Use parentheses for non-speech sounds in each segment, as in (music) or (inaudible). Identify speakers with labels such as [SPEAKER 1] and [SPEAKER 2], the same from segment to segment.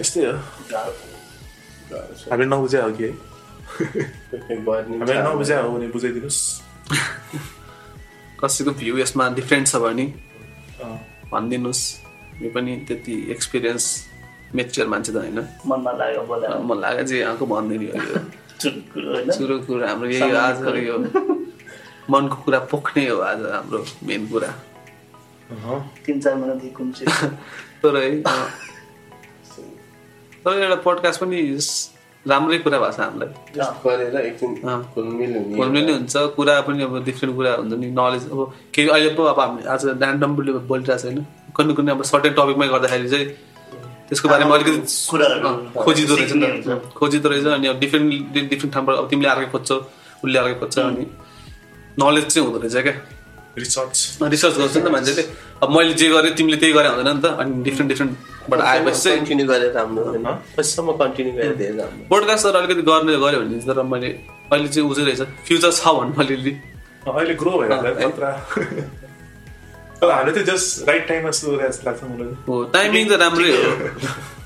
[SPEAKER 1] यस्तै हो
[SPEAKER 2] गाह्रो गाह्रो छ
[SPEAKER 1] हामीले नबुझ्या हो कि है
[SPEAKER 2] पिकनिक भयो भने
[SPEAKER 1] हामीले नबुझ्या हो भने बुझाइदिनुहोस्
[SPEAKER 3] कसैको भ्यू यसमा डिफ्रेन्ट छ भने
[SPEAKER 1] अँ।
[SPEAKER 3] भनिदिनुहोस् यो पनि त्यति एक्सपिरियन्स मेच्योर मान्छे त होइन
[SPEAKER 2] मनमा लाग्यो बोला
[SPEAKER 3] मलाई लाग्यो चाहिँ यहाँको भनिदिने हो यो
[SPEAKER 2] चुप कुरो होइन
[SPEAKER 3] सुरु कुरो हाम्रो यही हो आजको यो मनको कुरा पोख्ने हो आज हाम्रो मेन कुरा
[SPEAKER 1] अहँ।
[SPEAKER 2] तिन चार महिनादेखि कुम्चे
[SPEAKER 3] तर है अँ। तर एउटा पडकास्ट पनि स- राम्रै कुरा भएको छ हामीलाई
[SPEAKER 4] गरेर एकछिन
[SPEAKER 3] अँ।
[SPEAKER 4] घुलमिल हुने
[SPEAKER 3] फोनले नै हुन्छ कुरा पनि अब डिफ्रेन्ट कुरा हुन्छ नि नलेज अब केही अहिले पो अब हामी आज ऱ्यान्डम बोलिरहेको छ होइन कुनै कुनै अब सर्टेन टपिकमै गर्दाखेरि चाहिँ त्यसको बारेमा अलिकति
[SPEAKER 2] कुराहरू
[SPEAKER 3] अँ, खोजिँदो रहेछ
[SPEAKER 2] सिक्ने
[SPEAKER 3] नि
[SPEAKER 2] हुन्छ।
[SPEAKER 3] त खोजिँदो रहेछ अनि अब डिफ्रेन्ट डिफ्रेन्ट ठाउँबाट अब तिमीले अर्कै खोज्छौ उसले अर्कै खोज्छ अनि नलेज चाहिँ हुँदो रहेछ क्या
[SPEAKER 1] रिसर्च
[SPEAKER 3] रिसर्च गर्छ नि त मान्छेले अब मैले जे गरेँ तिमीले त्यही गरे हुँदैन नि त अनि डिफ्रेन्ट डिफ्रेन्टबाट आएपछि चाहिँ
[SPEAKER 4] कन्टिन्यू गरेर राम्रो होइन पछिसम्म कन्टिन्यू गरेर धेरै राम्रो
[SPEAKER 3] पोडकास्ट तर अलिकति गर्ने गऱ्यो भने तर मैले अहिले चाहिँ उजै रहेछ फ्युचर छ भन्नु अलिअलि
[SPEAKER 1] अहिले ग्रो भएर होला
[SPEAKER 3] अँ, है।
[SPEAKER 1] खतरा (laughs) तर हामीले चाहिँ जस्ट राइट टाइममा सुरु गरेको जस्तो लाग्छ मलाई
[SPEAKER 3] हो टाइमिङ त राम्रै हो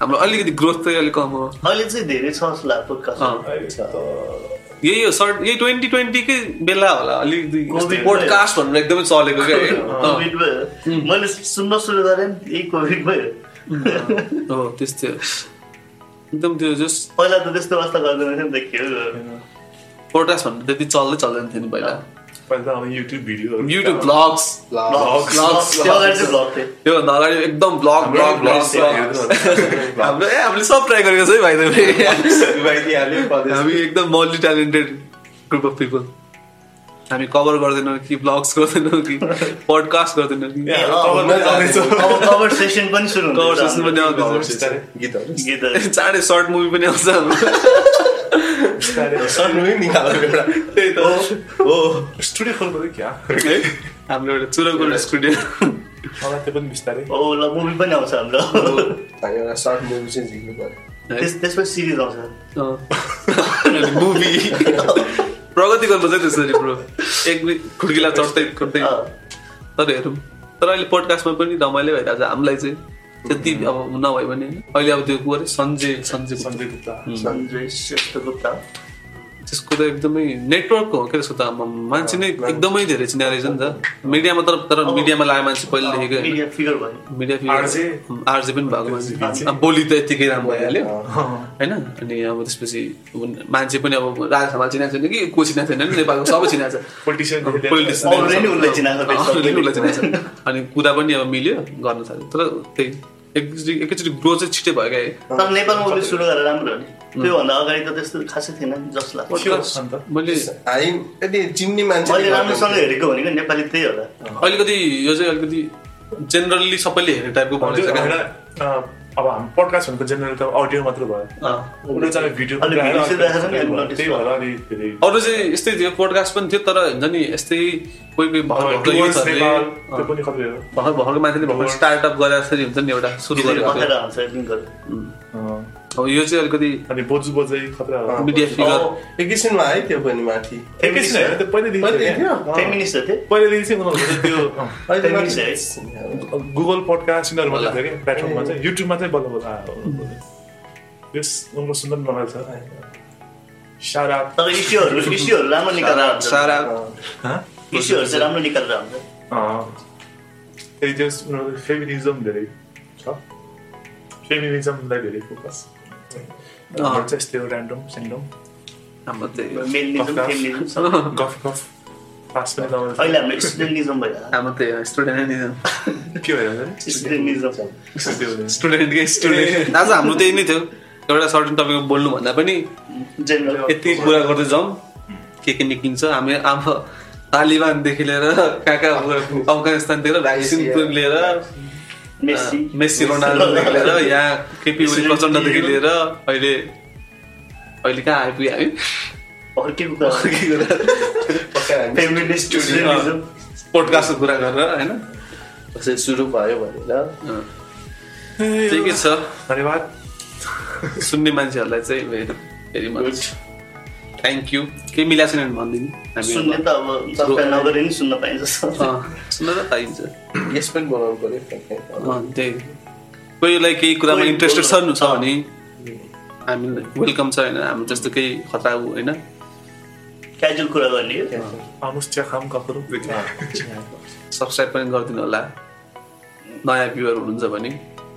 [SPEAKER 3] हाम्रो अलिकति ग्रोथ चाहिँ अलिक कम हो
[SPEAKER 2] अहिले चाहिँ धेरै छ जस्तो लाग्यो podcast
[SPEAKER 3] अँ,
[SPEAKER 1] अहिले त
[SPEAKER 3] यही हो सर्ट यही ट्वेन्टी ट्वेन्टीकै बेला होला अलिकति
[SPEAKER 2] कोभिड
[SPEAKER 3] पोडकास्ट भनेर एकदमै चलेको क्या यो। अँ,
[SPEAKER 2] कोभिड भयो मैले सुन्न सुरु गरेँ नि, यही कोभिड भयो
[SPEAKER 3] हो त्यस्तै हो एकदम त्यो जस्ट
[SPEAKER 2] पहिला त त्यस्तो अवस्था गर्दैन थियो नि त के हो
[SPEAKER 3] पोडकास्ट भनेर त्यति चल्दै चल्दैन थियो नि पहिला
[SPEAKER 1] पहिला त अब युट्युब भिडियोहरू
[SPEAKER 3] YouTube blogs
[SPEAKER 2] Vlogs,
[SPEAKER 3] Vlogs,
[SPEAKER 2] vlogs, अगाडि चाहिँ vlog थियो।
[SPEAKER 3] त्योभन्दा अगाडि एकदम ब्लग ब्लग ब्लग हाम्रो ए हामीले सब ट्राई गरेको छ है भाइ हामी एकदम multi talented group of people हामी कभर गर्दैनौँ कि ब्लग्स गर्दैनौँ कि पडकास्ट गर्दैनौँ कि
[SPEAKER 1] ए,
[SPEAKER 2] अँ,
[SPEAKER 1] cover
[SPEAKER 2] हुन
[SPEAKER 1] जाँदैछ।
[SPEAKER 2] अब cover session पनि सुरु हुँदैछ
[SPEAKER 3] कभर सेसन पनि
[SPEAKER 2] हाम्रो।
[SPEAKER 3] आउँदैछ
[SPEAKER 4] गीतहरू
[SPEAKER 2] गीतहरू।
[SPEAKER 3] (laughs) चाँडै सर्ट मुभी पनि आउँछ हाम्रो।
[SPEAKER 4] (laughs) सन्नु निकाल्नु एउटा
[SPEAKER 3] त्यही त हो
[SPEAKER 1] स्टुडियो खोल्नु पऱ्यो क्या
[SPEAKER 3] है, हाम्रो एउटा चुरोको स्टुडियो
[SPEAKER 1] मलाई त्यो पनि बिस्तारै
[SPEAKER 2] ओ, ल मुभी पनि आउँछ हाम्रो
[SPEAKER 4] हामी एउटा सर्ट मुभी चाहिँ झिक्नु पऱ्यो
[SPEAKER 2] त्यस- त्यसपछि सिरिज आउँछ
[SPEAKER 3] (laughs) मुभी प्रगति गर्नु चाहिँ त्यसरी ब्रो एक मिनट खुड्किला चढ्दै चढ्दै
[SPEAKER 2] अँ,
[SPEAKER 3] तर हेरौँ तर अहिले पोडकास्टमा पनि रमाइलो भइरहेको छ हामीलाई चाहिँ त्यति अब नभए पनि होइन। अहिले अब त्यो को अरे सञ्जय सञ्जय
[SPEAKER 1] सञ्जय गुप्ता
[SPEAKER 2] सञ्जय श्रेष्ठ गुप्ता
[SPEAKER 3] त्यसको त एकदमै नेटवर्क हो क्या त्यसको त आम्मामा। मान्छे नै एकदमै धेरै चिना रहेछ नि त मिडियामा तर तर मिडियामा लाग्यो मान्छे पहिलेदेखिको होइन।
[SPEAKER 2] मिडिया फिगर भयो
[SPEAKER 3] मिडिया
[SPEAKER 1] RJ?
[SPEAKER 3] आरजे पनि भएको मान्छे अब बोली त यत्तिकै राम्रो भइहाल्यो होइन अनि अब त्यसपछि अब मान्छे पनि अब राज हमाल चिनाएको छैन कि को चिनाएको छैन नि नेपालको सबै चिनाएको छ
[SPEAKER 1] पोलिटिसियन
[SPEAKER 3] Politician।
[SPEAKER 2] अरूले नि उसलाई चिनाएको
[SPEAKER 3] अँ,
[SPEAKER 2] रहेछ।
[SPEAKER 3] अरूले उसलाई चिनाएको छ। अनि कुरा पनि अब मिल्यो गर्न थाल्यो तर त्यही एकचोटि एकैचोटि ग्रो चाहिँ छिटै भयो क्या
[SPEAKER 2] तर नेपालमा उसले सुरु गरेर राम्रो हो नि त्योभन्दा अगाडि त त्यस्तो खासै थिएन नि जस्तो लाग्छ
[SPEAKER 1] के हो अन्त?
[SPEAKER 3] मैले
[SPEAKER 4] हामी यदि चिन्ने मान्छे
[SPEAKER 2] मैले राम्रोसँग हेरेको भनेको नेपाली त्यही होला
[SPEAKER 3] अलिकति यो चाहिँ अलिकति जेनरली सबैले हेर्ने टाइपको बनाएको
[SPEAKER 1] त्यो
[SPEAKER 3] छ क्या।
[SPEAKER 1] एउटा, अँ, अब हामी पडकास्ट भनेको जेनरल त अडियो मात्र भयो
[SPEAKER 3] अँ।
[SPEAKER 1] उनीहरू चाहिँ हामी भिडियो
[SPEAKER 2] अलिक भिडियो चाहिँ राखेको नि, अलिक notice
[SPEAKER 1] त्यही भएर अलिक धेरै
[SPEAKER 3] अरू चाहिँ यस्तै थियो पोडकास्ट पनि थियो तर हुन्छ नि यस्तै कोही कोही भर्खर
[SPEAKER 1] अब
[SPEAKER 3] भर्खर
[SPEAKER 1] towards
[SPEAKER 3] युथहरूले,
[SPEAKER 1] नेपाल,
[SPEAKER 3] अँ,
[SPEAKER 1] त्यो पनि खतरा हो।
[SPEAKER 3] भर्खर भर्खर मान्छेले भर्खर स्टार्टअप गरेर फेरि हुन्छ नि एउटा सुरु
[SPEAKER 2] त्यसरी
[SPEAKER 3] गरेको
[SPEAKER 2] पखेर आउँछ लिङ्कहरू
[SPEAKER 1] अँ,
[SPEAKER 3] अब यो चाहिँ अलिकति
[SPEAKER 1] अनि बोजू बोजै खतरा हो।
[SPEAKER 4] अँ।
[SPEAKER 3] मिडिया फिगर
[SPEAKER 2] अँ,
[SPEAKER 4] एकैछिनमा आयो त्यो पनि माथि
[SPEAKER 1] एकै छैन, त्यो पहिल्यैदेखि
[SPEAKER 4] पहिल्यै
[SPEAKER 1] थियो
[SPEAKER 4] थियो?
[SPEAKER 1] नि।
[SPEAKER 2] फेमिनिस्ट हो त्यो
[SPEAKER 1] पहिल्यैदेखि चाहिँ उनीहरूको चाहिँ त्यो अँ,
[SPEAKER 4] (laughs) अहिले
[SPEAKER 2] फेमिनिस्ट
[SPEAKER 4] माथि-
[SPEAKER 2] है
[SPEAKER 1] गुगल पडकास्ट यिनीहरू मात्रै थियो क्या प्लेटफर्ममा चाहिँ युट्युबमा चाहिँ बल्ल बल्ल आयो यस उनको सुन्दर रमाइलो छ सारा
[SPEAKER 2] तर इस्युहरू
[SPEAKER 3] (laughs)
[SPEAKER 2] इस्युहरू राम्रो निकालेर आउँछ
[SPEAKER 3] सारा
[SPEAKER 1] हँ?
[SPEAKER 2] इस्युहरू चाहिँ राम्रो निकालेर आउँछ
[SPEAKER 1] अँ। त्यही त्यस उनीहरूको फेमिनिजम धेरै छ फेमिनिजमलाई धेरै फोकस हाम्रो चाहिँ यस्तै हो ऱ्यान्डम स्यान्डम
[SPEAKER 3] हाम्रो त्यही हो।
[SPEAKER 2] मेलिजम
[SPEAKER 1] पक्का।
[SPEAKER 2] फेमिनिजम सब।
[SPEAKER 1] गफ गफ पास पनि लगाउँछ
[SPEAKER 2] अहिले हाम्रो स्टुडेन्टिजम भइरहेको
[SPEAKER 3] हाम्रो त्यही हो, स्टुडेन्ट
[SPEAKER 1] के भएर भने?
[SPEAKER 2] छ। स्टुडेन्टिजम
[SPEAKER 1] त्यो भने।
[SPEAKER 3] स्टुडेन्टकै स्टुडेन्ट आज हाम्रो त्यही नै थियो एउटा सर्टेन टपिकमा बोल्नुभन्दा पनि
[SPEAKER 2] जेनरल
[SPEAKER 3] यति कुरा गर्दै जाउँ के के निस्किन्छ हामी अब तालिबानदेखि लिएर कहाँ कहाँ अब अफगानिस्तानतिर भ्याक्सिनको लिएर
[SPEAKER 2] मेसी
[SPEAKER 3] मेस्सी रोनाल्डोदेखि लिएर यहाँ केपी ओली प्रचण्डदेखि लिएर अहिले अहिले कहाँ आइपुग्यो हामी
[SPEAKER 2] अर्कैको कुरा
[SPEAKER 3] के कुरा
[SPEAKER 4] पक्का हामी
[SPEAKER 2] फेमिनिस्ट स्टुडेन्टिजम
[SPEAKER 3] पोडकास्टको ah, कुरा गरेर होइन
[SPEAKER 4] कसरी सुरु भयो भनेर
[SPEAKER 3] अँ। ठिकै छ
[SPEAKER 1] धन्यवाद
[SPEAKER 3] सुन्ने मान्छेहरूलाई चाहिँ very very much thank you केही मिलाएको छैन भने भनिदिनु
[SPEAKER 2] सुन्ने त अब सबै नगरे नि सुन्न
[SPEAKER 3] (laughs)
[SPEAKER 2] पाइन्छ
[SPEAKER 3] अँ, सुन्न त पाइन्छ
[SPEAKER 4] गेस्ट पनि बनाउनु पऱ्यो
[SPEAKER 3] अँ, त्यही कोहीलाई केही कुरामा
[SPEAKER 2] कोही
[SPEAKER 3] इन्ट्रेस्टेड
[SPEAKER 2] बोल्नु-
[SPEAKER 3] छ भने हामी वेलकम छ होइन हाम्रो जस्तो केही खतरा उ होइन
[SPEAKER 2] क्याजुअल कुरा गर्ने हो।
[SPEAKER 1] आउनुहोस् चिया खाम ककरो
[SPEAKER 3] सब्सक्राइब पनि गरिदिनु होला नयाँ भ्युवर हुनुहुन्छ भने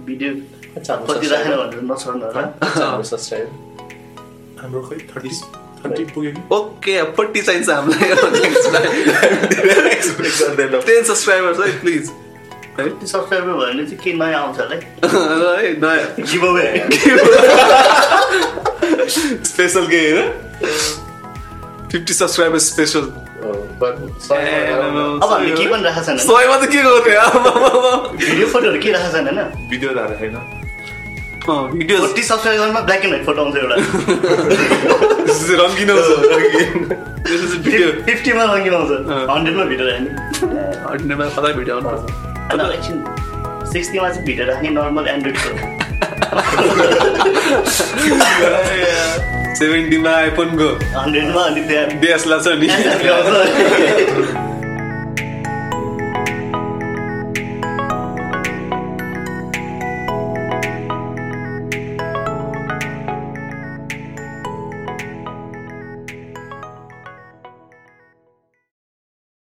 [SPEAKER 2] भिडियो
[SPEAKER 4] चालु
[SPEAKER 2] कति
[SPEAKER 4] छ,
[SPEAKER 2] राखेन भनेर नछोड्नु होला
[SPEAKER 4] सब्सक्राइब
[SPEAKER 1] हाम्रो खै थर्टी थर्टी पुग्यो कि
[SPEAKER 3] ओके फोर्टी चाहिन्छ (laughs) हामीलाई
[SPEAKER 1] गर्दैन
[SPEAKER 3] टेन सब्सक्राइबर छ है प्लिज है
[SPEAKER 2] त्यो सब्सक्राइबर भयो भने चाहिँ के नयाँ आउँछ होला है
[SPEAKER 3] है, नयाँ
[SPEAKER 2] गिभ अवे
[SPEAKER 3] स्पेसल के होइन फिफ्टी सब्सक्राइबर स्पेसल Eh,
[SPEAKER 2] अब हामीले के पनि राखेको छैन
[SPEAKER 3] सयमा त के गर्ने
[SPEAKER 2] भिडियो फोटोहरू के राखेको छैन होइन
[SPEAKER 1] भिडियो धारा होइन
[SPEAKER 3] भिडियो
[SPEAKER 2] फोर्टी सब्सक्राइबरमा ब्ल्याक एन्ड व्हाइट फोटो आउँछ एउटा
[SPEAKER 3] रङ्गिन भिडियो
[SPEAKER 2] फिफ्टीमा रङ्गिन आउँछ
[SPEAKER 3] अँ।
[SPEAKER 2] हन्ड्रेडमा भिडियो राख्ने
[SPEAKER 3] हन्ड्रेडमा सधैँ भिडियो आउनु
[SPEAKER 2] होइन एकछिन सिक्सटीमा चाहिँ भिडियो राख्ने नर्मल एन्ड्रोइडको
[SPEAKER 3] सेभेन्टीमा आइफोनको
[SPEAKER 2] हन्ड्रेडमा अनि त्यहाँ (laughs)
[SPEAKER 3] डिएसला छ नि
[SPEAKER 2] आउँछ